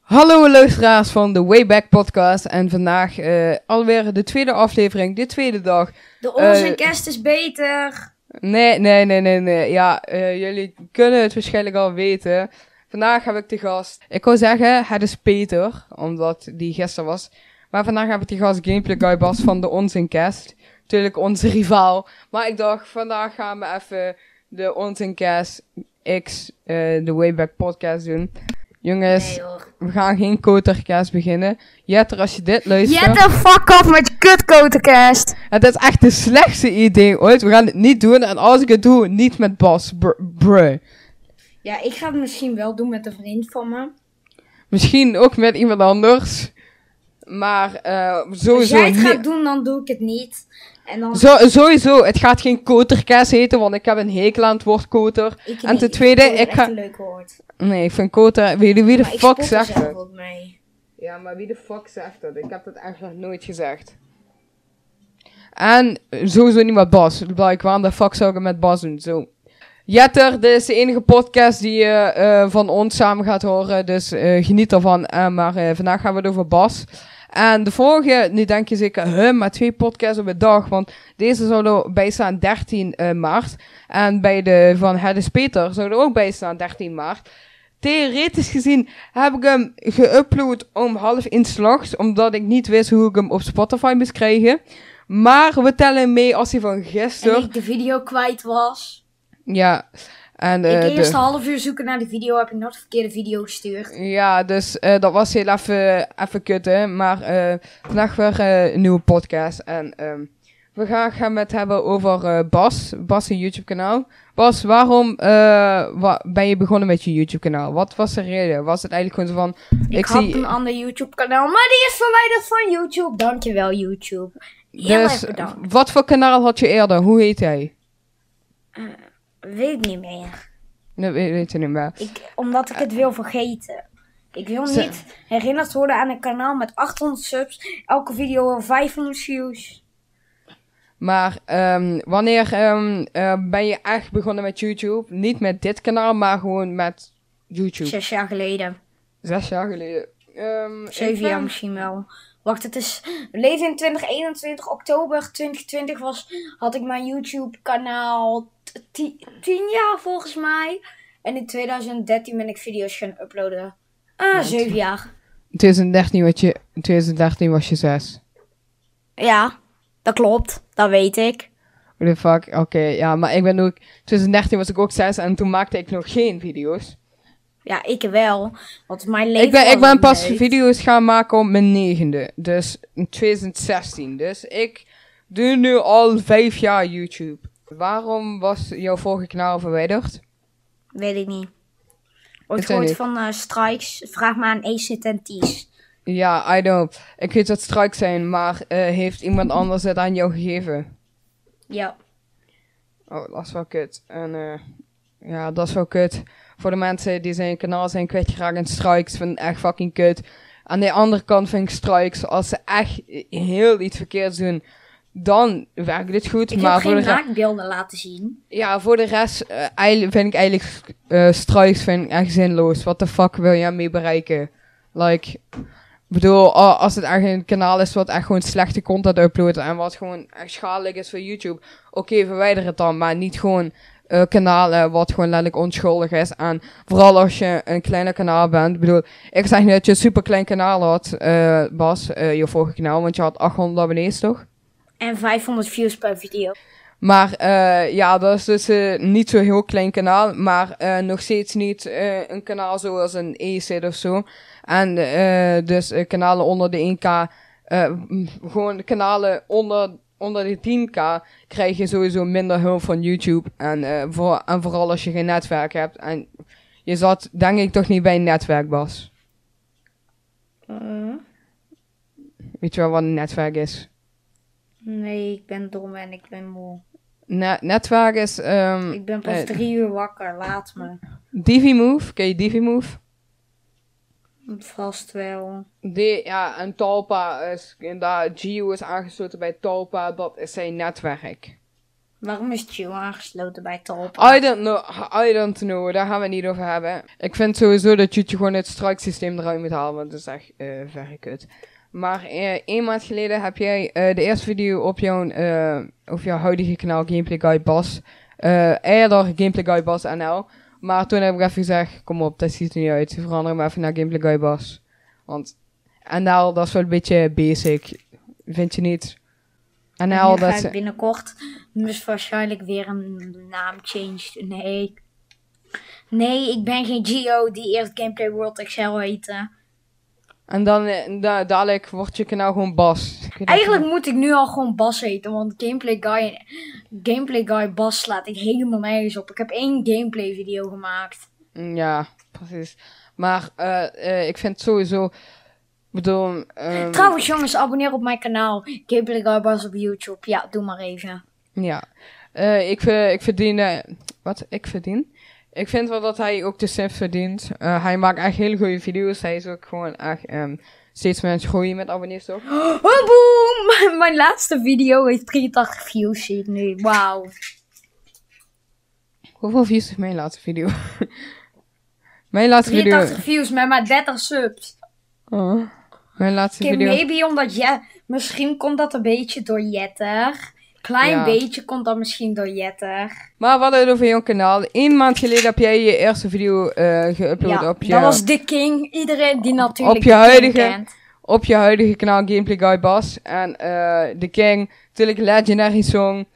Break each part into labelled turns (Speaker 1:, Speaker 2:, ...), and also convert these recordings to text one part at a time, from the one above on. Speaker 1: Hallo luisteraars van de Wayback Podcast en vandaag eh, alweer de tweede aflevering, de tweede dag.
Speaker 2: De onze
Speaker 1: Eh,
Speaker 2: kerst is beter.
Speaker 1: Nee, nee, nee, nee, nee. Ja, eh, jullie kunnen het waarschijnlijk al weten. Vandaag heb ik de gast. Ik wou zeggen, het is Peter, omdat die gisteren was. Maar vandaag heb ik de gast Gameplay Guy Bas van de Onzincast. Natuurlijk onze rivaal. Maar ik dacht, vandaag gaan we even de Onzincast X, eh, de Wayback Podcast doen. Jongens,
Speaker 2: Nee hoor.
Speaker 1: we gaan geen kotercast beginnen. Jetter, als je dit luistert...
Speaker 3: Get the fuck off met je kutkotencast.
Speaker 1: Het is echt de slechtste idee ooit. We gaan het niet doen. En als ik het doe, niet met Bas. Br- bruh.
Speaker 2: Ja, ik ga het misschien wel doen met een vriend van me.
Speaker 1: Misschien ook met iemand anders. Maar eh,
Speaker 2: Als
Speaker 1: sowieso
Speaker 2: jij het
Speaker 1: niet.
Speaker 2: gaat doen, dan doe ik het niet. En dan
Speaker 1: Zo, sowieso, het gaat geen koterkes heten, want ik heb een hekel aan het woord koter.
Speaker 2: ik
Speaker 1: en
Speaker 2: niet.
Speaker 1: ten tweede,
Speaker 2: vond het
Speaker 1: ik
Speaker 2: echt
Speaker 1: ga-
Speaker 2: een leuk woord.
Speaker 1: Nee, ik vind koter... Wie, wie de
Speaker 2: Maar
Speaker 1: fuck
Speaker 2: ik spot er
Speaker 1: zegt
Speaker 2: zelf
Speaker 1: dat?
Speaker 2: ook mee.
Speaker 1: Ja, maar wie de fuck zegt dat? Ik heb dat echt nog nooit gezegd. En eh, sowieso niet met Bas. Ik waarom de fuck zou ik het met Bas doen? Zo. Jetter, dit is de enige podcast die je eh, van ons samen gaat horen. Dus eh, geniet ervan. Eh, maar eh, vandaag gaan we het over Bas. En de vorige, nu denk je zeker, huh, maar twee podcasts op een dag. Want deze zou er bij staan 13 eh, maart. En bij de van Het is Peter zou er ook bij staan 13 maart. Theoretisch gezien heb ik hem geüpload om half in slags, omdat ik niet wist hoe ik hem op Spotify moest krijgen. Maar we tellen mee als hij van
Speaker 2: En
Speaker 1: gisteren.
Speaker 2: ik de video kwijt was.
Speaker 1: Ja. En, eh,
Speaker 2: ik
Speaker 1: de-
Speaker 2: eerst een half uur zoeken naar de video, heb ik nog de verkeerde video gestuurd.
Speaker 1: Ja, dus eh, dat was heel even, even kut, hè. Maar eh, vandaag weer eh, een nieuwe podcast. En ehm, we gaan, gaan het hebben over eh, Bas. Bas' YouTube-kanaal. Bas, waarom eh, wa- ben je begonnen met je YouTube-kanaal? Wat was de reden? Was het eigenlijk gewoon zo van...
Speaker 2: Ik, had een ander YouTube kanaal, maar die is verwijderd van YouTube. Dankjewel YouTube. Heel
Speaker 1: dus,
Speaker 2: erg bedankt.
Speaker 1: wat voor kanaal had je eerder? Hoe heet hij?
Speaker 2: Weet ik niet meer.
Speaker 1: Dat weet, weet je niet meer.
Speaker 2: Ik, omdat ik het
Speaker 1: Eh,
Speaker 2: wil vergeten. Ik wil
Speaker 1: Ze-
Speaker 2: niet herinnerd worden aan een kanaal met 800 subs. Elke video 500 views.
Speaker 1: Maar ehm, wanneer ehm, eh, ben je echt begonnen met YouTube? Niet met dit kanaal, maar gewoon met YouTube.
Speaker 2: Zes jaar geleden.
Speaker 1: Zes jaar geleden. Ehm, ik
Speaker 2: Zeven jaar
Speaker 1: ben-
Speaker 2: misschien wel. Wacht, het is. We leven in 2021, oktober 2020 was. Had ik mijn YouTube-kanaal. t- ti- Tien jaar volgens mij. En in 2013 ben ik video's gaan uploaden. Ah, zeven jaar.
Speaker 1: 2013, wat je, 2013 was je zes.
Speaker 2: Ja, dat klopt. Dat weet ik.
Speaker 1: What the fuck? Oké, ja, maar ik ben ook... 2013 was ik ook zes en toen maakte ik nog geen video's.
Speaker 2: Ja, ik wel. Want mijn leven.
Speaker 1: Ik ben, ik
Speaker 2: was
Speaker 1: ben pas
Speaker 2: leuk.
Speaker 1: video's gaan maken op mijn negende. Dus in 2016. Dus ik doe nu al vijf jaar YouTube. Waarom was jouw vorige kanaal verwijderd?
Speaker 2: Weet ik niet.
Speaker 1: Dat zijn
Speaker 2: Ooit gehoord
Speaker 1: die.
Speaker 2: van eh, Strikes? Vraag maar aan Acid en Ties.
Speaker 1: Ja, I know. Ik weet dat straks zijn, maar eh, heeft iemand anders het aan jou gegeven?
Speaker 2: Ja.
Speaker 1: Oh, dat is wel kut. En eh, ja, dat is wel kut. Voor de mensen die zijn kanaal zijn kwijtgeraakt en strikes vind ik echt fucking kut. Aan de andere kant vind ik strikes, als ze echt heel iets verkeerds doen, dan werkt dit goed.
Speaker 2: Ik
Speaker 1: maar
Speaker 2: heb
Speaker 1: voor de,
Speaker 2: geen
Speaker 1: re-
Speaker 2: raakbeelden laten zien.
Speaker 1: ja, voor de rest eh, eigenlijk- vind ik eigenlijk eh strikes vind ik echt zinloos. Wat de fuck wil jij mee bereiken? Like, ik bedoel, ah, als het echt een kanaal is wat echt gewoon slechte content uploadt en wat gewoon echt schadelijk is voor YouTube, oké, verwijder het dan, maar niet gewoon eh, kanalen wat gewoon letterlijk onschuldig is. En vooral als je een kleiner kanaal bent. Ik bedoel, ik zeg niet dat je een super klein kanaal had, eh, Bas, eh, je vorige kanaal, want je had 800 abonnees toch?
Speaker 2: En 500 views per video.
Speaker 1: Maar eh, ja, dat is dus eh, niet zo'n heel klein kanaal. Maar eh, nog steeds niet eh, een kanaal zoals een EZ of zo. En eh, dus eh, kanalen onder de 1K. eh, m, gewoon kanalen onder, onder de 10K krijg je sowieso minder hulp van YouTube. En, eh, voor, en vooral als je geen netwerk hebt. En je zat denk ik toch niet bij een netwerk, Bas.
Speaker 2: Eh?
Speaker 1: Weet je wel wat een netwerk is?
Speaker 2: Nee, ik ben dom en ik ben moe.
Speaker 1: Ne- netwerk is... ehm,
Speaker 2: Ik ben
Speaker 1: eh,
Speaker 2: pas drie uur wakker, laat me.
Speaker 1: DiviMove, ken je DiviMove?
Speaker 2: Vast wel.
Speaker 1: Die, ja, en Talpa is, en daar, Gio is aangesloten bij Talpa, dat is zijn netwerk.
Speaker 2: Waarom is Chew aangesloten bij Talpa?
Speaker 1: I don't know, I don't know, daar gaan we het niet over hebben. Ik vind sowieso dat YouTube gewoon het strikesysteem eruit moet halen, want dat is echt eh verre kut. Maar eh een maand geleden heb jij eh, de eerste video op jouw, eh, op jouw huidige kanaal Gameplay Guy Bas. eh eerder Gameplay Guy Bas NL. Maar toen heb ik even gezegd, kom op, dat ziet er niet uit. Verander hem even naar Gameplay Guy Bas. Want NL, dat is wel een beetje basic. Vind je niet?
Speaker 2: En
Speaker 1: NL,
Speaker 2: nu ga
Speaker 1: dat
Speaker 2: ik
Speaker 1: is...
Speaker 2: binnenkort dus waarschijnlijk weer een naam change. Nee. Nee, ik ben geen Gio die eerst Gameplay World Excel heette.
Speaker 1: En dan, eh, da- dadelijk wordt je kanaal gewoon Bas. Ik weet
Speaker 2: Eigenlijk moet ik nu al gewoon Bas heten, want Gameplay Guy, Gameplay Guy Bas slaat ik helemaal nergens op. Ik heb één gameplay video gemaakt.
Speaker 1: Mm, Ja, precies. Maar eh, eh, ik vind sowieso. Ik bedoel. ehm,
Speaker 2: Trouwens jongens, abonneer op mijn kanaal. Gameplay Guy Bas op YouTube. Ja, doe maar even.
Speaker 1: Ja. Eh, ik, ver- ik verdien. eh, wat ik verdien? Ik vind wel dat hij ook de sims verdient. Eh, hij maakt echt hele goede video's. Hij is ook gewoon echt ehm, steeds meer aan het groeien met abonnees toch?
Speaker 2: Oh, boem! Mijn laatste video heeft 83 views, zie ik nu. Wauw.
Speaker 1: Hoeveel views heeft mijn laatste video? mijn laatste video.
Speaker 2: 83 views met maar 30 subs.
Speaker 1: Oh. Mijn laatste
Speaker 2: Oké,
Speaker 1: video.
Speaker 2: maybe omdat je... Misschien komt dat een beetje door Jetter. Klein
Speaker 1: Ja.
Speaker 2: beetje komt dat misschien door Jetter.
Speaker 1: Maar wat het over jouw kanaal. Eén maand geleden heb jij je eerste video eh geüpload
Speaker 2: Ja,
Speaker 1: op je.
Speaker 2: dat was de king. Iedereen die natuurlijk
Speaker 1: Op je
Speaker 2: de king
Speaker 1: huidige-
Speaker 2: kent.
Speaker 1: op je huidige kanaal Gameplay Guy Bas. En eh The King, natuurlijk legendary song.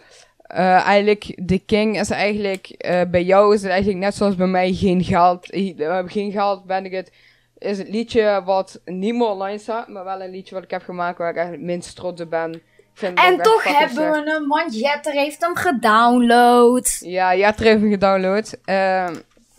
Speaker 1: Eh, eigenlijk, The King is eigenlijk, eh, bij jou is het eigenlijk net zoals bij mij geen geld. Eh, geen geld ben ik het. Is het liedje wat niet meer online staat, maar wel een liedje wat ik heb gemaakt waar ik echt het minst trots op ben. Ik vind het
Speaker 2: En
Speaker 1: ook echt
Speaker 2: toch
Speaker 1: fucking
Speaker 2: hebben
Speaker 1: slecht.
Speaker 2: we hem, want Jetter heeft hem gedownload.
Speaker 1: Ja, Jetter heeft hem gedownload. Ehm,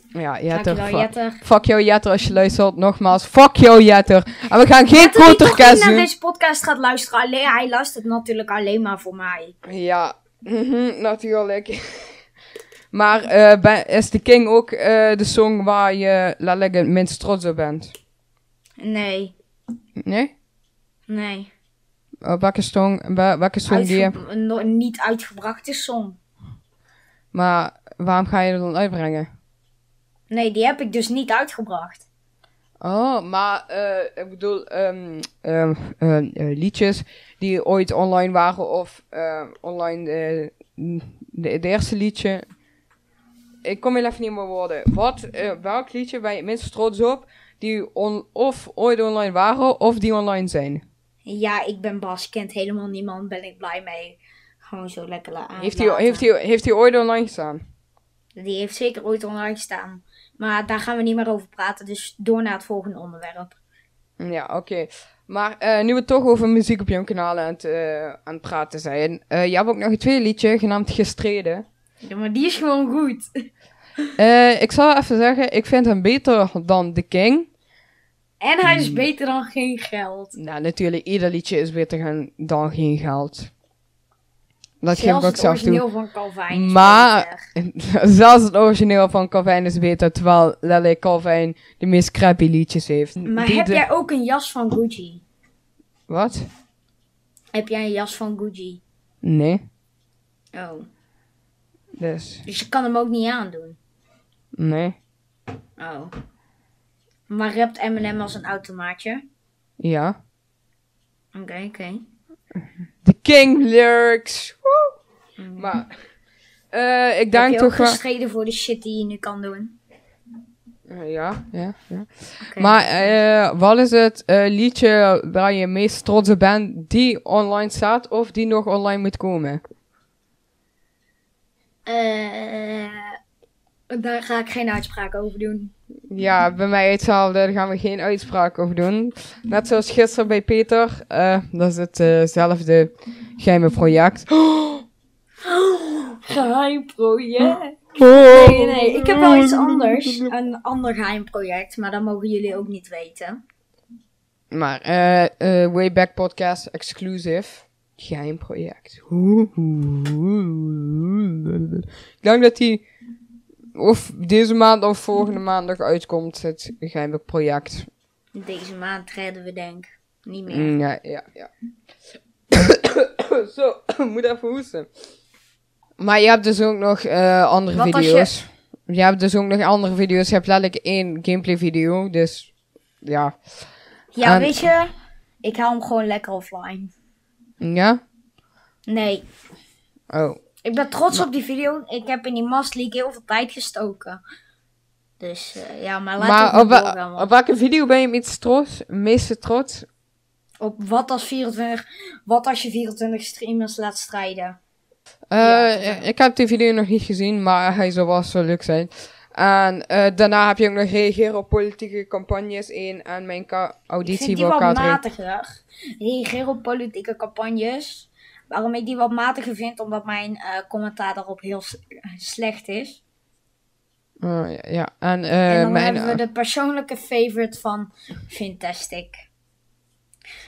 Speaker 1: ja, Jetter.
Speaker 2: Dankjewel,
Speaker 1: fuck-
Speaker 2: Jetter.
Speaker 1: Fuck jou, Jetter, als je luistert. Nogmaals, fuck jou, Jetter. En we gaan geen
Speaker 2: Jetter die toch niet
Speaker 1: countercast
Speaker 2: naar
Speaker 1: doen.
Speaker 2: deze podcast gaat luisteren. Alleen, hij luistert natuurlijk alleen maar voor mij.
Speaker 1: Ja, mhm, natuurlijk. maar eh, ben- is The King ook eh, de song waar je letterlijk het minst trots op bent?
Speaker 2: Nee,
Speaker 1: Nee?
Speaker 2: nee.
Speaker 1: Eh, welke song, wel- welke song die je...
Speaker 2: Uitge- no- niet uitgebrachte song.
Speaker 1: Maar waarom ga je dat dan uitbrengen?
Speaker 2: Nee, die heb ik dus niet uitgebracht.
Speaker 1: Oh, maar eh, ik bedoel, ehm, ehm, ehm, eh, liedjes die ooit online waren of eh, online eh, de, de eerste liedje. Ik kom heel even niet meer woorden. Wat, eh, welk liedje ben je het minst trots op die on, of ooit online waren of die online zijn?
Speaker 2: Ja, ik ben Bas, kent helemaal niemand, ben ik blij mee. Gewoon zo lekker aan.
Speaker 1: Heeft hij heeft die, heeft die ooit online gestaan?
Speaker 2: Die heeft zeker ooit online staan. Maar daar gaan we niet meer over praten, dus door naar het volgende onderwerp.
Speaker 1: Mm, Ja, oké. Maar eh, nu we toch over muziek op jouw kanaal aan het, eh, aan het praten zijn. eh, je hebt ook nog een tweede liedje genaamd Gestreden.
Speaker 2: Ja, maar die is gewoon goed.
Speaker 1: Eh, ik zal even zeggen, ik vind hem beter dan The King.
Speaker 2: En hij
Speaker 1: Hmm.
Speaker 2: is beter dan geen geld.
Speaker 1: Nou, natuurlijk, ieder liedje is beter gaan- dan geen geld. Dat geef ik
Speaker 2: Zelfs
Speaker 1: ook
Speaker 2: het
Speaker 1: zelf toe.
Speaker 2: origineel van Calvin is
Speaker 1: Maar-
Speaker 2: beter.
Speaker 1: Zelfs het origineel van Calvin is beter, terwijl Lele Calvin de meest crappy liedjes heeft.
Speaker 2: Maar
Speaker 1: Die
Speaker 2: heb
Speaker 1: de-
Speaker 2: jij ook een jas van Gucci?
Speaker 1: Wat?
Speaker 2: Heb jij een jas van Gucci?
Speaker 1: Nee.
Speaker 2: Oh,
Speaker 1: Dus,
Speaker 2: dus je kan hem ook niet aandoen.
Speaker 1: nee.
Speaker 2: Oh. Maar rapt Eminem als een automaatje?
Speaker 1: Ja.
Speaker 2: Oké, oké.
Speaker 1: The King lyrics. Woe! Maar, eh, ik denk
Speaker 2: Mm. Heb je ook
Speaker 1: toch wel...
Speaker 2: gestreden voor de shit die je nu kan doen?
Speaker 1: Eh, Ja, ja, ja.
Speaker 2: Oké.
Speaker 1: Maar eh, wat is het eh, liedje waar je meest trots op bent die online staat of die nog online moet komen?
Speaker 2: Eh, daar ga ik geen uitspraak over doen.
Speaker 1: Ja, bij mij hetzelfde, daar gaan we geen uitspraak over doen. Net zoals gisteren bij Peter, eh, dat is hetzelfde geheime project.
Speaker 2: Geheim project.
Speaker 1: Oh.
Speaker 2: Nee, nee, ik heb wel iets anders. Een ander geheim project, maar dat mogen jullie ook niet weten.
Speaker 1: Maar eh, eh, Wayback Podcast Exclusive, geheim project. Ik denk dat die of deze maand of volgende maandag uitkomt, het geheime project.
Speaker 2: Deze maand redden we denk ik niet meer.
Speaker 1: Mm, Ja, ja, ja. Zo, moet even hoesten. Maar je hebt dus ook nog eh, andere
Speaker 2: Wat als
Speaker 1: video's. Je... hebt dus ook nog andere video's. Je hebt letterlijk één gameplay video. Dus ja.
Speaker 2: Ja,
Speaker 1: En-
Speaker 2: weet je, ik hou hem gewoon lekker offline.
Speaker 1: Ja?
Speaker 2: Nee,
Speaker 1: Oh.
Speaker 2: ik ben trots op die video. Ik heb in die Mast League heel veel tijd gestoken. Dus eh, ja, maar laat
Speaker 1: maar op,
Speaker 2: het niet
Speaker 1: wel-
Speaker 2: doorgaan, man.
Speaker 1: op welke video ben je het meest trots? Meeste trots?
Speaker 2: Op wat als 24, wat als je 24 streamers laat strijden.
Speaker 1: Eh, ik heb die video nog niet gezien, maar hij zou wel zo leuk zijn. En eh, daarna heb je ook nog reageren op politieke campagnes 1 en mijn ka-
Speaker 2: Ik
Speaker 1: auditie
Speaker 2: vind die
Speaker 1: voor
Speaker 2: wat
Speaker 1: K3.
Speaker 2: matiger. Reageer op politieke campagnes. Waarom ik die wat matiger vind, omdat mijn eh, commentaar daarop heel s- slecht is.
Speaker 1: Oh, ja, ja, en,
Speaker 2: En
Speaker 1: eh
Speaker 2: dan
Speaker 1: mijn...
Speaker 2: hebben we de persoonlijke favorite van Fantastic.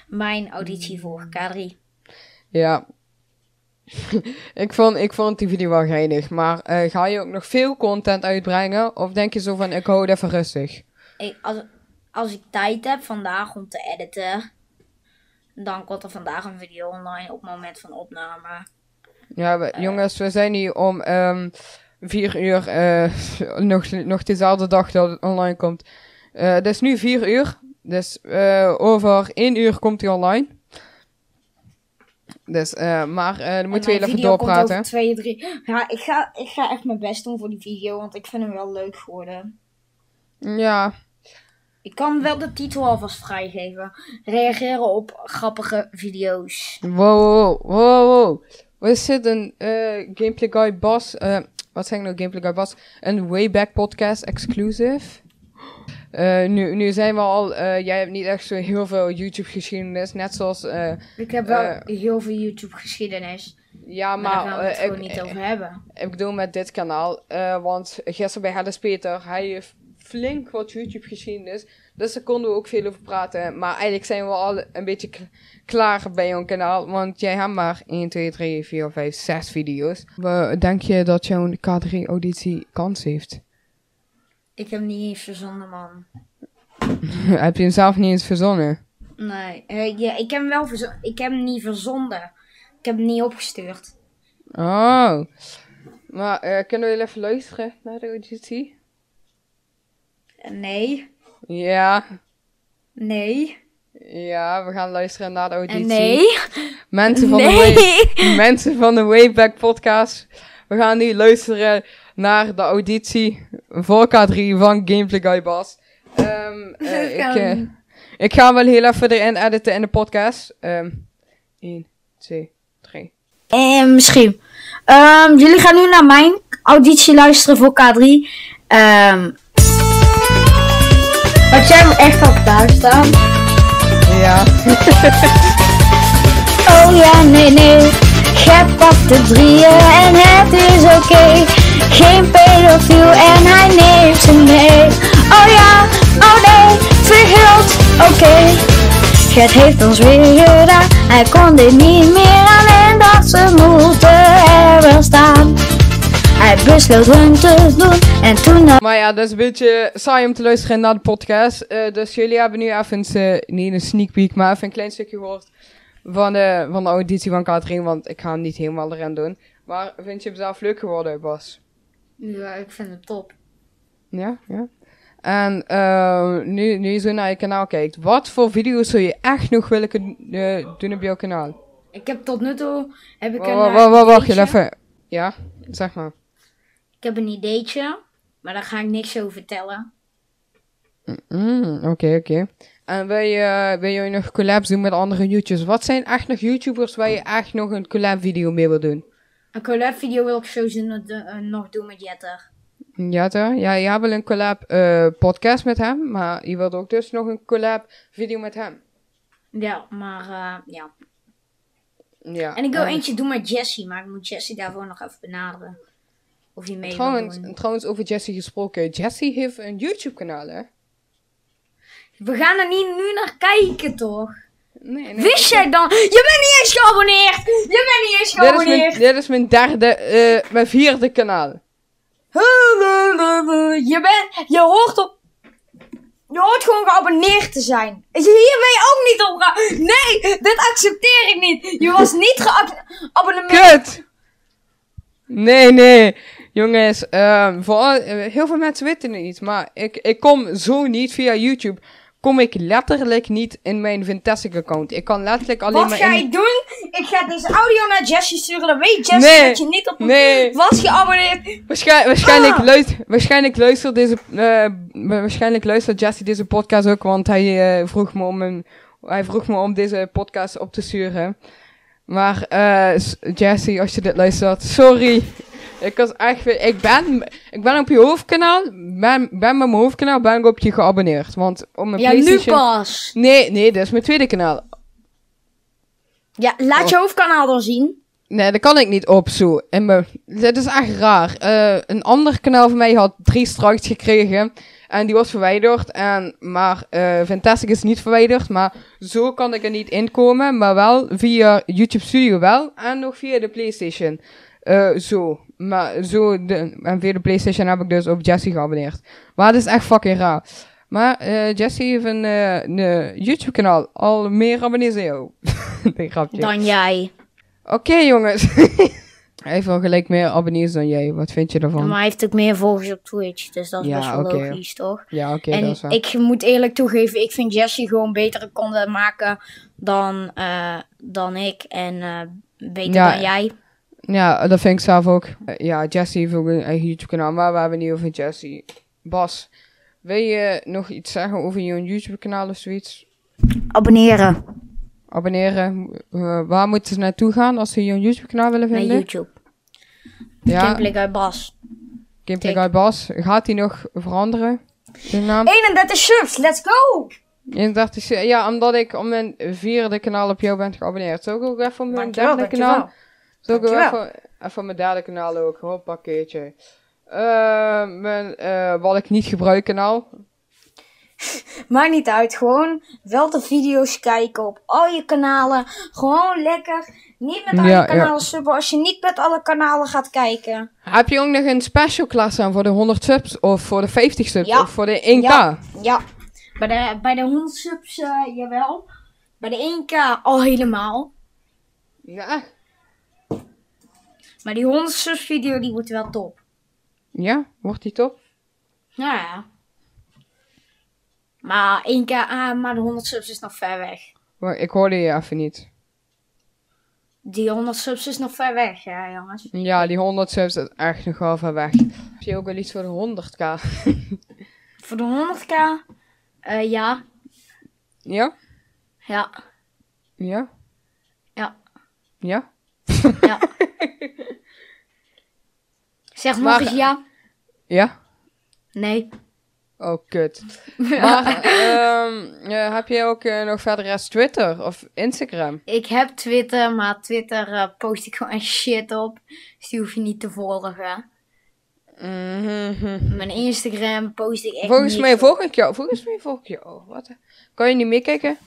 Speaker 2: Mijn
Speaker 1: Hmm.
Speaker 2: auditie voor K3.
Speaker 1: eh, Ja. ik, vond, ik vond die video wel geinig. Maar eh, ga je ook nog veel content uitbrengen? Of denk je zo van, ik hou het even rustig?
Speaker 2: Ik, als, als ik tijd heb vandaag om te editen, dan komt er vandaag een video online op het moment van opname.
Speaker 1: Ja, we- jongens, we zijn hier om ehm vier uur, eh, nog, nog dezelfde dag dat het online komt. Eh het is nu vier uur, dus eh, over één uur komt hij online. Dus, eh, maar eh, dan moeten we
Speaker 2: En
Speaker 1: heel
Speaker 2: mijn
Speaker 1: even
Speaker 2: video komt
Speaker 1: doorpraten.
Speaker 2: over twee, drie. Ja, ik ga, ik ga echt mijn best doen voor die video, want ik vind hem wel leuk geworden.
Speaker 1: Ja,
Speaker 2: Ik kan wel de titel alvast vrijgeven. Reageren op grappige video's.
Speaker 1: wow, wow, wow, wow. We zitten eh Gameplay Guy Bas, eh, wat zeg ik nou, Gameplay Guy Bas? Een Wayback Podcast exclusive. Eh, nu, nu zijn we al, eh, jij hebt niet echt zo heel veel YouTube geschiedenis, net zoals... eh,
Speaker 2: Ik heb wel
Speaker 1: Eh.
Speaker 2: heel veel YouTube geschiedenis.
Speaker 1: Ja,
Speaker 2: Maar, daar
Speaker 1: maar,
Speaker 2: gaan we het
Speaker 1: eh,
Speaker 2: gewoon
Speaker 1: ik,
Speaker 2: niet over hebben.
Speaker 1: ik bedoel met dit kanaal, eh, want gisteren bij Helles Peter, hij heeft flink wat YouTube geschiedenis, dus daar konden we ook veel over praten. Maar eigenlijk zijn we al een beetje k- klaar bij ons kanaal, want jij hebt maar 1, 2, 3, 4, 5, 6 video's. We- Denk je dat jouw K3-auditie kans heeft?
Speaker 2: Ik heb niet eens verzonnen, man.
Speaker 1: Heb je hem zelf niet eens verzonnen?
Speaker 2: Nee, eh, ja, ik heb hem wel verzo- Ik heb hem niet verzonden. Ik heb hem niet opgestuurd.
Speaker 1: Oh, maar eh, kunnen we heel even luisteren naar de auditie?
Speaker 2: Eh, Nee,
Speaker 1: Ja,
Speaker 2: nee,
Speaker 1: ja, we gaan luisteren naar de
Speaker 2: en
Speaker 1: auditie.
Speaker 2: nee,
Speaker 1: Mensen van de Way-
Speaker 2: nee.
Speaker 1: mensen van de Wayback Podcast. We gaan nu luisteren naar de auditie voor K3 van Gameplay Guy Bas. Ehm, eh, ik, eh, ik ga hem wel heel even erin editen in de podcast. Ehm 1, 2, 3.
Speaker 2: Eh, misschien. Ehm, jullie gaan nu naar mijn auditie luisteren voor K3. Ehm had jij hem echt al klaarstaan?
Speaker 1: Ja.
Speaker 4: Oh ja, nee, nee. Gij pakt de drieën en het is oké. Geen pedofiel en hij neemt ze mee. Oh ja, oh nee, verguld, oké. Gert heeft ons weer gedaan. Hij kon dit niet meer aan en dat ze moeten er wel staan. Hij besloot hun te doen en toen...
Speaker 1: Maar ja, dat is een beetje saai om te luisteren naar de podcast. Eh, dus jullie hebben nu even, eh, niet een sneak peek, maar even een klein stukje gehoord van de, van de auditie van K3. Want ik ga hem niet helemaal erin doen. Maar vind je hem zelf leuk geworden, Bas?
Speaker 2: Ja, eh, ik vind het top.
Speaker 1: Ja, ja. En eh, nu, nu je zo naar je kanaal kijkt, wat voor video's zou je echt nog willen kun- eh, doen op jouw kanaal?
Speaker 2: Ik heb tot nu toe... Heb ik
Speaker 1: Wa-
Speaker 2: een,
Speaker 1: wa-
Speaker 2: eh,
Speaker 1: wa- wa- Wacht, nou
Speaker 2: ideetje.
Speaker 1: even. Ja, zeg maar.
Speaker 2: Ik heb een ideetje, maar daar ga ik niks over vertellen.
Speaker 1: Mm, Oké, oké. En wil je, eh, wil je nog collabs doen met andere YouTubers? Wat zijn echt nog YouTubers waar je echt nog een collab video mee wil doen?
Speaker 2: Een collab video wil ik sowieso nog, do- eh, nog doen met Jetter.
Speaker 1: Ja, toch? Ja, je hebt wel een collab eh, podcast met hem, maar je wilt ook dus nog een collab video met hem.
Speaker 2: Ja, maar eh, ja.
Speaker 1: Ja.
Speaker 2: En ik wil
Speaker 1: eh,
Speaker 2: eentje doen met Jesse, maar ik moet Jesse daarvoor nog even benaderen. Of hij mee wil
Speaker 1: Trouwens,
Speaker 2: doen.
Speaker 1: trouwens, over Jesse gesproken. Jesse heeft een YouTube-kanaal, hè?
Speaker 2: We gaan er niet nu naar kijken, toch?
Speaker 1: Nee, nee.
Speaker 2: Wist jij dan? Je bent niet eens geabonneerd! Je bent niet eens
Speaker 1: Dit is, mijn,
Speaker 2: geabonneerd!
Speaker 1: dit is mijn derde, eh, mijn vierde kanaal.
Speaker 2: Je bent... Je hoort op... Je hoort gewoon geabonneerd te zijn. Hier ben je ook niet op... ge- Nee, dit accepteer ik niet. Je was niet geabonneerd.
Speaker 1: Kut! Nee, nee. Jongens, ehm, vooral, eh, heel veel mensen weten het niet. Maar ik, ik kom zo niet via YouTube. Kom ik letterlijk niet in mijn Fantastic account. Ik kan letterlijk alleen
Speaker 2: Wat
Speaker 1: maar
Speaker 2: ga
Speaker 1: in...
Speaker 2: je doen? Ik ga deze audio naar Jessie sturen. Dan weet Jessie
Speaker 1: Nee.
Speaker 2: dat je niet op
Speaker 1: Nee.
Speaker 2: was geabonneerd.
Speaker 1: Waarschijn- waarschijnlijk,
Speaker 2: Ah.
Speaker 1: luist- waarschijnlijk luistert deze, eh, waarschijnlijk luistert Jesse deze podcast ook, want hij eh, vroeg me om een, hij vroeg me om deze podcast op te sturen. Maar eh, s- Jesse, als je dit luistert, sorry. Ik was echt, weer- ik ben, ik ben op je hoofdkanaal, ben, ben met mijn hoofdkanaal, ben ik op je geabonneerd, want op mijn
Speaker 2: Ja, nu
Speaker 1: PlayStation.
Speaker 2: pas.
Speaker 1: Nee, nee, dit is mijn tweede kanaal.
Speaker 2: Ja,
Speaker 1: Oh.
Speaker 2: laat je hoofdkanaal dan zien.
Speaker 1: Nee, dat kan ik niet op zo. En me, dit is echt raar. Eh, een ander kanaal van mij had drie strikes gekregen. En die was verwijderd. En, maar eh Fantastic is niet verwijderd. Maar zo kan ik er niet inkomen. Maar wel via YouTube Studio wel. En nog via de Playstation. Eh, zo. Maar zo de, en via de Playstation heb ik dus op Jesse geabonneerd. Maar het is echt fucking raar. Maar eh Jesse heeft een, eh, een YouTube kanaal. Al meer abonnees dan jou. nee, grapje.
Speaker 2: Dan jij.
Speaker 1: Oké, jongens. Hij heeft wel gelijk meer abonnees dan jij. Wat vind je daarvan?
Speaker 2: Maar hij heeft ook meer volgers op Twitch. Dus dat is
Speaker 1: Ja,
Speaker 2: best wel
Speaker 1: oké.
Speaker 2: logisch, toch?
Speaker 1: Ja, oké, dat is
Speaker 2: en
Speaker 1: waar.
Speaker 2: ik moet eerlijk toegeven, ik vind Jessie gewoon betere content maken dan, eh, dan ik. En eh, beter
Speaker 1: Ja.
Speaker 2: dan jij.
Speaker 1: Ja, dat vind ik zelf ook. Eh, ja, Jesse heeft ook een eigen YouTube-kanaal, maar we hebben niet over Jesse. Bas, wil je nog iets zeggen over je YouTube-kanaal of zoiets?
Speaker 3: Abonneren.
Speaker 1: Abonneren. Eh, waar moeten ze naartoe gaan als ze je YouTube-kanaal willen
Speaker 2: Naar
Speaker 1: vinden?
Speaker 2: YouTube. Ja.
Speaker 1: Ja,
Speaker 2: uit Bas.
Speaker 1: Gameplay Guy Bas. Gaat die nog veranderen? De naam?
Speaker 2: 31 subs, let's go!
Speaker 1: Inderdaad, is- ja, omdat ik op mijn vierde kanaal op jou ben geabonneerd. Zou ik nou- ook even op mijn
Speaker 2: Dankjewel,
Speaker 1: derde
Speaker 2: dankjewel.
Speaker 1: kanaal? Zo ik
Speaker 2: Dankjewel.
Speaker 1: even, even mijn derde kanaal ook. Hoppakkeetje. Eh mijn, eh, wat ik niet gebruik kanaal.
Speaker 2: Maakt niet uit, gewoon wel de video's kijken op al je kanalen. Gewoon lekker. Niet met alle
Speaker 1: Ja, ja.
Speaker 2: kanalen subben als je niet met alle kanalen gaat kijken.
Speaker 1: Heb je ook nog een special class aan voor de 100 subs of voor de 50 subs
Speaker 2: Ja.
Speaker 1: of voor de 1k?
Speaker 2: Ja, ja. Bij de, bij de 100 subs, eh, jawel. Bij de 1k al helemaal.
Speaker 1: Ja.
Speaker 2: Maar die 100 subs video, die wordt wel top.
Speaker 1: Ja, wordt die top?
Speaker 2: Nou ja. Maar 1k, ah, maar de 100 subs is nog ver weg.
Speaker 1: Wa- Ik hoorde je even niet.
Speaker 2: Die 100 subs is nog ver weg, ja jongens.
Speaker 1: Ja, die 100 subs is echt nogal ver weg. Heb je ook wel iets voor de 100k?
Speaker 2: Voor de 100k, eh, ja,
Speaker 1: Ja?
Speaker 2: ja,
Speaker 1: Ja?
Speaker 2: ja,
Speaker 1: Ja?
Speaker 2: ja. zeg nog
Speaker 1: Maar-
Speaker 2: eens ja.
Speaker 1: Ja?
Speaker 2: Nee.
Speaker 1: Oh, kut. Maar ehm, eh, heb jij ook eh, nog verder als Twitter of Instagram?
Speaker 2: Ik heb Twitter, maar Twitter eh, post ik gewoon shit op. Dus die hoef je niet te volgen.
Speaker 1: Mhm.
Speaker 2: Mijn Instagram post ik echt
Speaker 1: Volgens
Speaker 2: niks
Speaker 1: mij
Speaker 2: op.
Speaker 1: volg ik jou. Volgens mij volg ik jou. Wat? Kan je niet meekijken?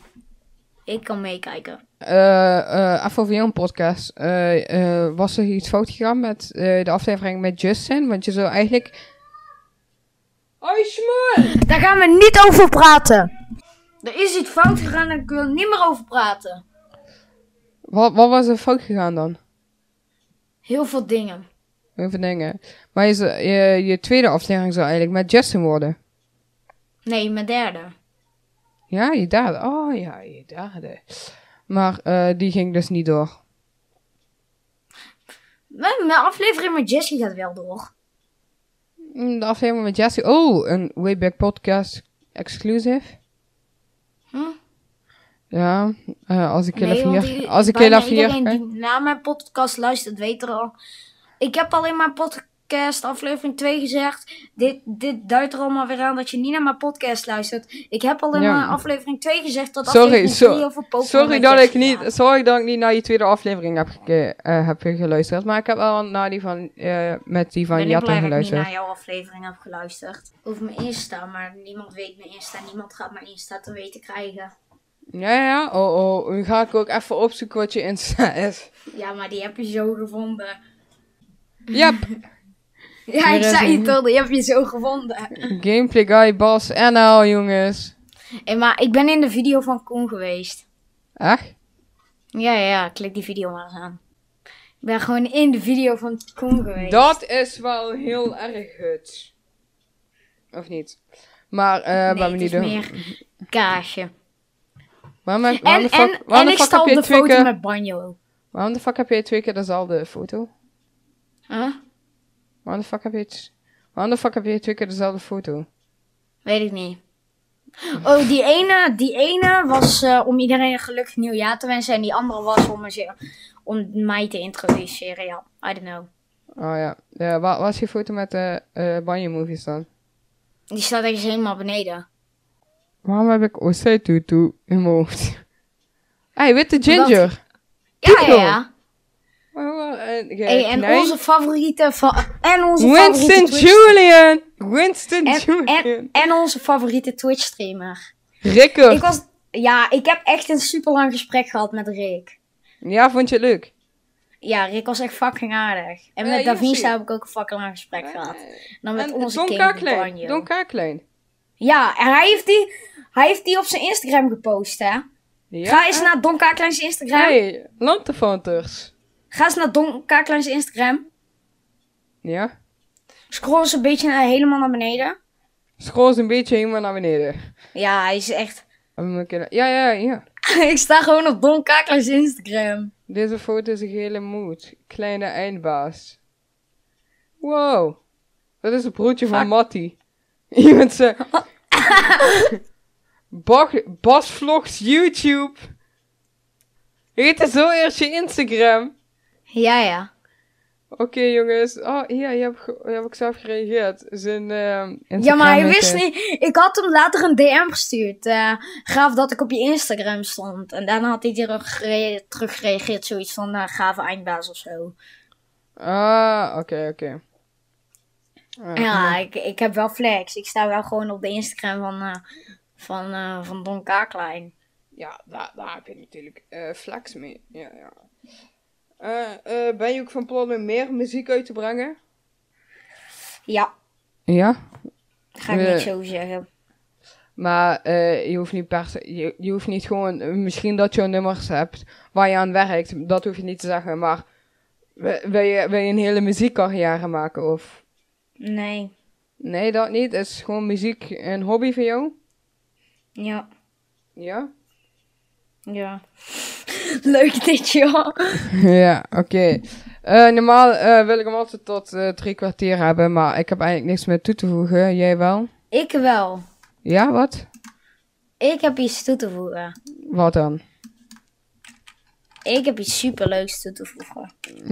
Speaker 2: Ik kan meekijken.
Speaker 1: Eh eh even een podcast. Eh, eh, was er iets fout gegaan met eh, de aflevering met Justin? Want je zou eigenlijk... Hoi, Smoel!
Speaker 3: Daar gaan we niet over praten.
Speaker 2: Er is iets fout gegaan en ik wil er niet meer over praten.
Speaker 1: Wat, wat was er fout gegaan dan?
Speaker 2: Heel veel dingen.
Speaker 1: Heel veel dingen. Maar je, zou- je, je tweede aflevering zou eigenlijk met Justin worden.
Speaker 2: Nee, mijn derde.
Speaker 1: Ja, je daden. Oh ja, je daden. Maar eh, die ging dus niet door.
Speaker 2: Mijn mijn aflevering met Jessie gaat wel door.
Speaker 1: Mm, De aflevering met Jesse. Oh, een Wayback Podcast exclusive.
Speaker 2: Hm?
Speaker 1: Ja, eh, als ik heel
Speaker 2: Nee,
Speaker 1: even
Speaker 2: want
Speaker 1: hier...
Speaker 2: i-
Speaker 1: Als ik heel
Speaker 2: bijna
Speaker 1: even hier...
Speaker 2: iedereen
Speaker 1: kijk.
Speaker 2: die naar mijn podcast luistert, weet er al. Ik heb al in mijn podcast aflevering 2 gezegd. Dit, dit duidt er allemaal weer aan dat je niet naar mijn podcast luistert. Ik heb al in
Speaker 1: Ja.
Speaker 2: mijn aflevering 2 gezegd dat
Speaker 1: Sorry,
Speaker 2: aflevering
Speaker 1: so-
Speaker 2: 3 over Pokémon
Speaker 1: sorry,
Speaker 2: met
Speaker 1: dat ik
Speaker 2: Jessie
Speaker 1: niet,
Speaker 2: gaat.
Speaker 1: sorry dat ik niet naar je tweede aflevering heb, geke- eh, heb geluisterd. Maar ik heb wel naar die van, eh, met die van
Speaker 2: ben ik
Speaker 1: Jatta
Speaker 2: blij dat ik niet
Speaker 1: geluisterd.
Speaker 2: naar jouw aflevering heb geluisterd. Over mijn Insta, maar niemand weet mijn Insta. Niemand gaat mijn Insta te weten krijgen.
Speaker 1: Ja, ja, ja. Oh, oh. Nu ga ik ook even opzoeken wat je Insta is.
Speaker 2: Ja, maar die heb je zo gevonden.
Speaker 1: Yep.
Speaker 2: Ja,
Speaker 1: Hier
Speaker 2: ik
Speaker 1: is
Speaker 2: zei
Speaker 1: hem.
Speaker 2: het al, die heb je zo gevonden.
Speaker 1: Gameplay Guy, Bas, NL, jongens.
Speaker 2: Hey, maar ik ben in de video van Koen geweest.
Speaker 1: Echt?
Speaker 2: Ja, ja, ja, klik die video maar eens aan. ben gewoon in de video van Koen geweest.
Speaker 1: Dat is wel heel erg het. Of niet? Maar eh
Speaker 2: nee,
Speaker 1: waarom
Speaker 2: het
Speaker 1: niet
Speaker 2: is
Speaker 1: doen?
Speaker 2: meer kaasje.
Speaker 1: Waarom, heb- waarom
Speaker 2: En,
Speaker 1: de fuck,
Speaker 2: en,
Speaker 1: waarom
Speaker 2: en
Speaker 1: de fuck
Speaker 2: ik
Speaker 1: heb
Speaker 2: stal
Speaker 1: je
Speaker 2: de
Speaker 1: twee
Speaker 2: foto
Speaker 1: keer...
Speaker 2: met Banjo.
Speaker 1: Waarom de fuck heb je twee keer dezelfde foto?
Speaker 2: Huh?
Speaker 1: Waarom de fuck heb je... het- Waarom de fuck heb je twee keer dezelfde foto?
Speaker 2: Weet ik niet. Oh, die ene, die ene was eh, om iedereen een gelukkig nieuwjaar te wensen. En die andere was om, mezelf- om mij te introduceren. Ja, I don't know.
Speaker 1: Oh ja. ja wa- wat is je foto met de eh Banjo Movies dan?
Speaker 2: Die staat ergens helemaal beneden.
Speaker 1: Waarom heb ik Osei Tutu in mijn hoofd? hey, witte ginger. eh,
Speaker 2: Ja, ja,
Speaker 1: Pico.
Speaker 2: ja. Hey, en onze favoriete, va- en onze favoriete
Speaker 1: Winston
Speaker 2: Twitch-
Speaker 1: Julian! Winston
Speaker 2: en, en,
Speaker 1: Julian!
Speaker 2: en onze favoriete Twitch streamer.
Speaker 1: Rikker!
Speaker 2: Ik was, ja, ik heb echt een super lang gesprek gehad met Rick.
Speaker 1: Ja, vond je het leuk?
Speaker 2: Ja, Rick was echt fucking aardig. En
Speaker 1: Ja,
Speaker 2: met
Speaker 1: hier zie
Speaker 2: Davisa
Speaker 1: je.
Speaker 2: heb ik ook een fucking lang gesprek gehad. En dan met
Speaker 1: En
Speaker 2: onze
Speaker 1: Don
Speaker 2: King
Speaker 1: Kaaklijn.
Speaker 2: Banjo.
Speaker 1: Don Kaaklijn.
Speaker 2: Ja, en hij heeft die, hij heeft die op zijn Instagram gepost, hè?
Speaker 1: Ja.
Speaker 2: Ga eens naar Don Kaaklein's Instagram.
Speaker 1: Hey, Lantefanters.
Speaker 2: Ga eens naar Don Kaaklein's Instagram.
Speaker 1: Ja.
Speaker 2: Scroll eens een beetje naar, helemaal naar beneden.
Speaker 1: Scroll eens een beetje helemaal naar beneden.
Speaker 2: Ja, hij is echt...
Speaker 1: Hebben we een keer- Ja, ja, ja.
Speaker 2: ik sta gewoon op Don Kaaklein's Instagram.
Speaker 1: Deze foto is een gele moed. Kleine eindbaas. Wow. Dat is het broertje van
Speaker 2: Fuck.
Speaker 1: Matty. Iemand zei... Bas, Bas vlogs YouTube. Heet er zo eerst je Instagram.
Speaker 2: Ja, ja.
Speaker 1: Oké jongens. Oh, hier, hier heb, ik ge- hier heb ik zelf gereageerd. Zijn ehm Instagram
Speaker 2: Ja, maar hij
Speaker 1: heet,
Speaker 2: wist
Speaker 1: eh,
Speaker 2: niet. Ik had hem later een DM gestuurd. eh gaaf dat ik op je Instagram stond. En daarna had hij terug gere- terug gereageerd. Zoiets van eh gave eindbaas of zo.
Speaker 1: Ah, oké, oké. Ah,
Speaker 2: Ja, ik, ik heb wel flex. Ik sta wel gewoon op de Instagram van, eh, van, eh, van Don Kaaklijn.
Speaker 1: Ja, daar, daar heb je natuurlijk eh flex mee. Ja, ja. Eh, eh, ben je ook van plan om meer muziek uit te brengen?
Speaker 2: Ja,
Speaker 1: Ja,
Speaker 2: ga ik
Speaker 1: Eh.
Speaker 2: niks over zeggen.
Speaker 1: maar eh, je hoeft niet per se, je, je hoeft niet gewoon, eh, misschien dat je nummers hebt waar je aan werkt, dat hoef je niet te zeggen, maar wi- wil je, wil je een hele muziekcarrière maken of?
Speaker 2: Nee.
Speaker 1: Nee, dat niet. Is gewoon muziek een hobby voor jou?
Speaker 2: Ja.
Speaker 1: Ja?
Speaker 2: Ja. Leuk dit, joh.
Speaker 1: Ja, oké. Eh, normaal eh, wil ik hem altijd tot eh, drie kwartier hebben, maar ik heb eigenlijk niks meer toe te voegen. Jij wel?
Speaker 2: Ik wel.
Speaker 1: Ja, wat?
Speaker 2: Ik heb iets toe te voegen.
Speaker 1: Wat dan?
Speaker 2: Ik heb iets superleuks toe te voegen.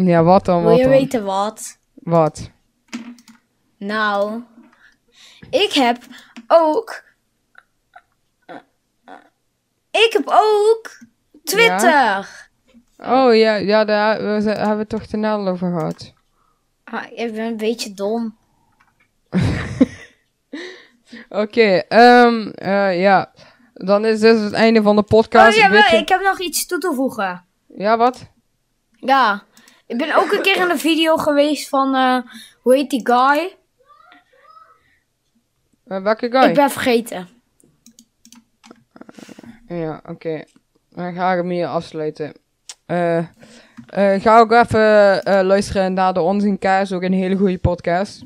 Speaker 1: Ja, wat dan?
Speaker 2: Wil
Speaker 1: Wat?
Speaker 2: je
Speaker 1: Dan?
Speaker 2: weten wat?
Speaker 1: Wat?
Speaker 2: Nou, ik heb ook. Ik heb ook Twitter.
Speaker 1: Oh ja, ja daar we z- hebben we het toch te nadel over gehad.
Speaker 2: Ah, ik ben een beetje dom.
Speaker 1: Oké, ehm, eh, ja. Dan is dit het einde van de
Speaker 2: Oh
Speaker 1: podcast.
Speaker 2: ja,
Speaker 1: Een
Speaker 2: wel,
Speaker 1: beetje-
Speaker 2: ik heb nog iets toe te voegen.
Speaker 1: Ja, wat?
Speaker 2: Ja, ik ben ook een keer in een video geweest van. eh, hoe heet die guy?
Speaker 1: Eh, welke guy?
Speaker 2: Ik ben vergeten.
Speaker 1: Ja, oké. Dan ga ik hem hier afsluiten. Eh, eh, ga ook even eh, luisteren naar de Onzinkaars. Ook een hele goede podcast.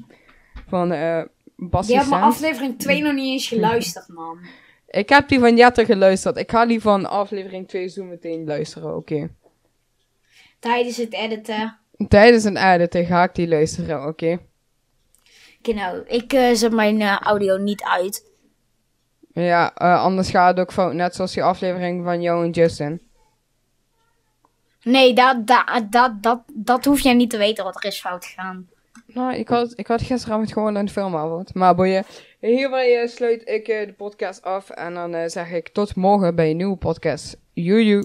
Speaker 1: Van eh Bassie
Speaker 2: Je hebt mijn
Speaker 1: Sands.
Speaker 2: aflevering 2 nog niet eens geluisterd, man.
Speaker 1: Ik heb die van Jette geluisterd. Ik ga die van aflevering 2 zo meteen luisteren. Oké.
Speaker 2: Tijdens het editen.
Speaker 1: Tijdens een editen ga ik die luisteren. Oké.
Speaker 2: Genau, ik eh, zet mijn eh, audio niet uit.
Speaker 1: Ja, eh, anders gaat het ook fout. Net zoals die aflevering van jou en Justin.
Speaker 2: Nee, dat, dat, dat, dat, dat hoef jij niet te weten wat er is fout gegaan.
Speaker 1: Nou, ik had, ik had gisteravond gewoon een filmavond. Maar boeien. Hierbij eh, sluit ik eh, de podcast af. En dan eh, zeg ik tot morgen bij een nieuwe podcast. Joejoe.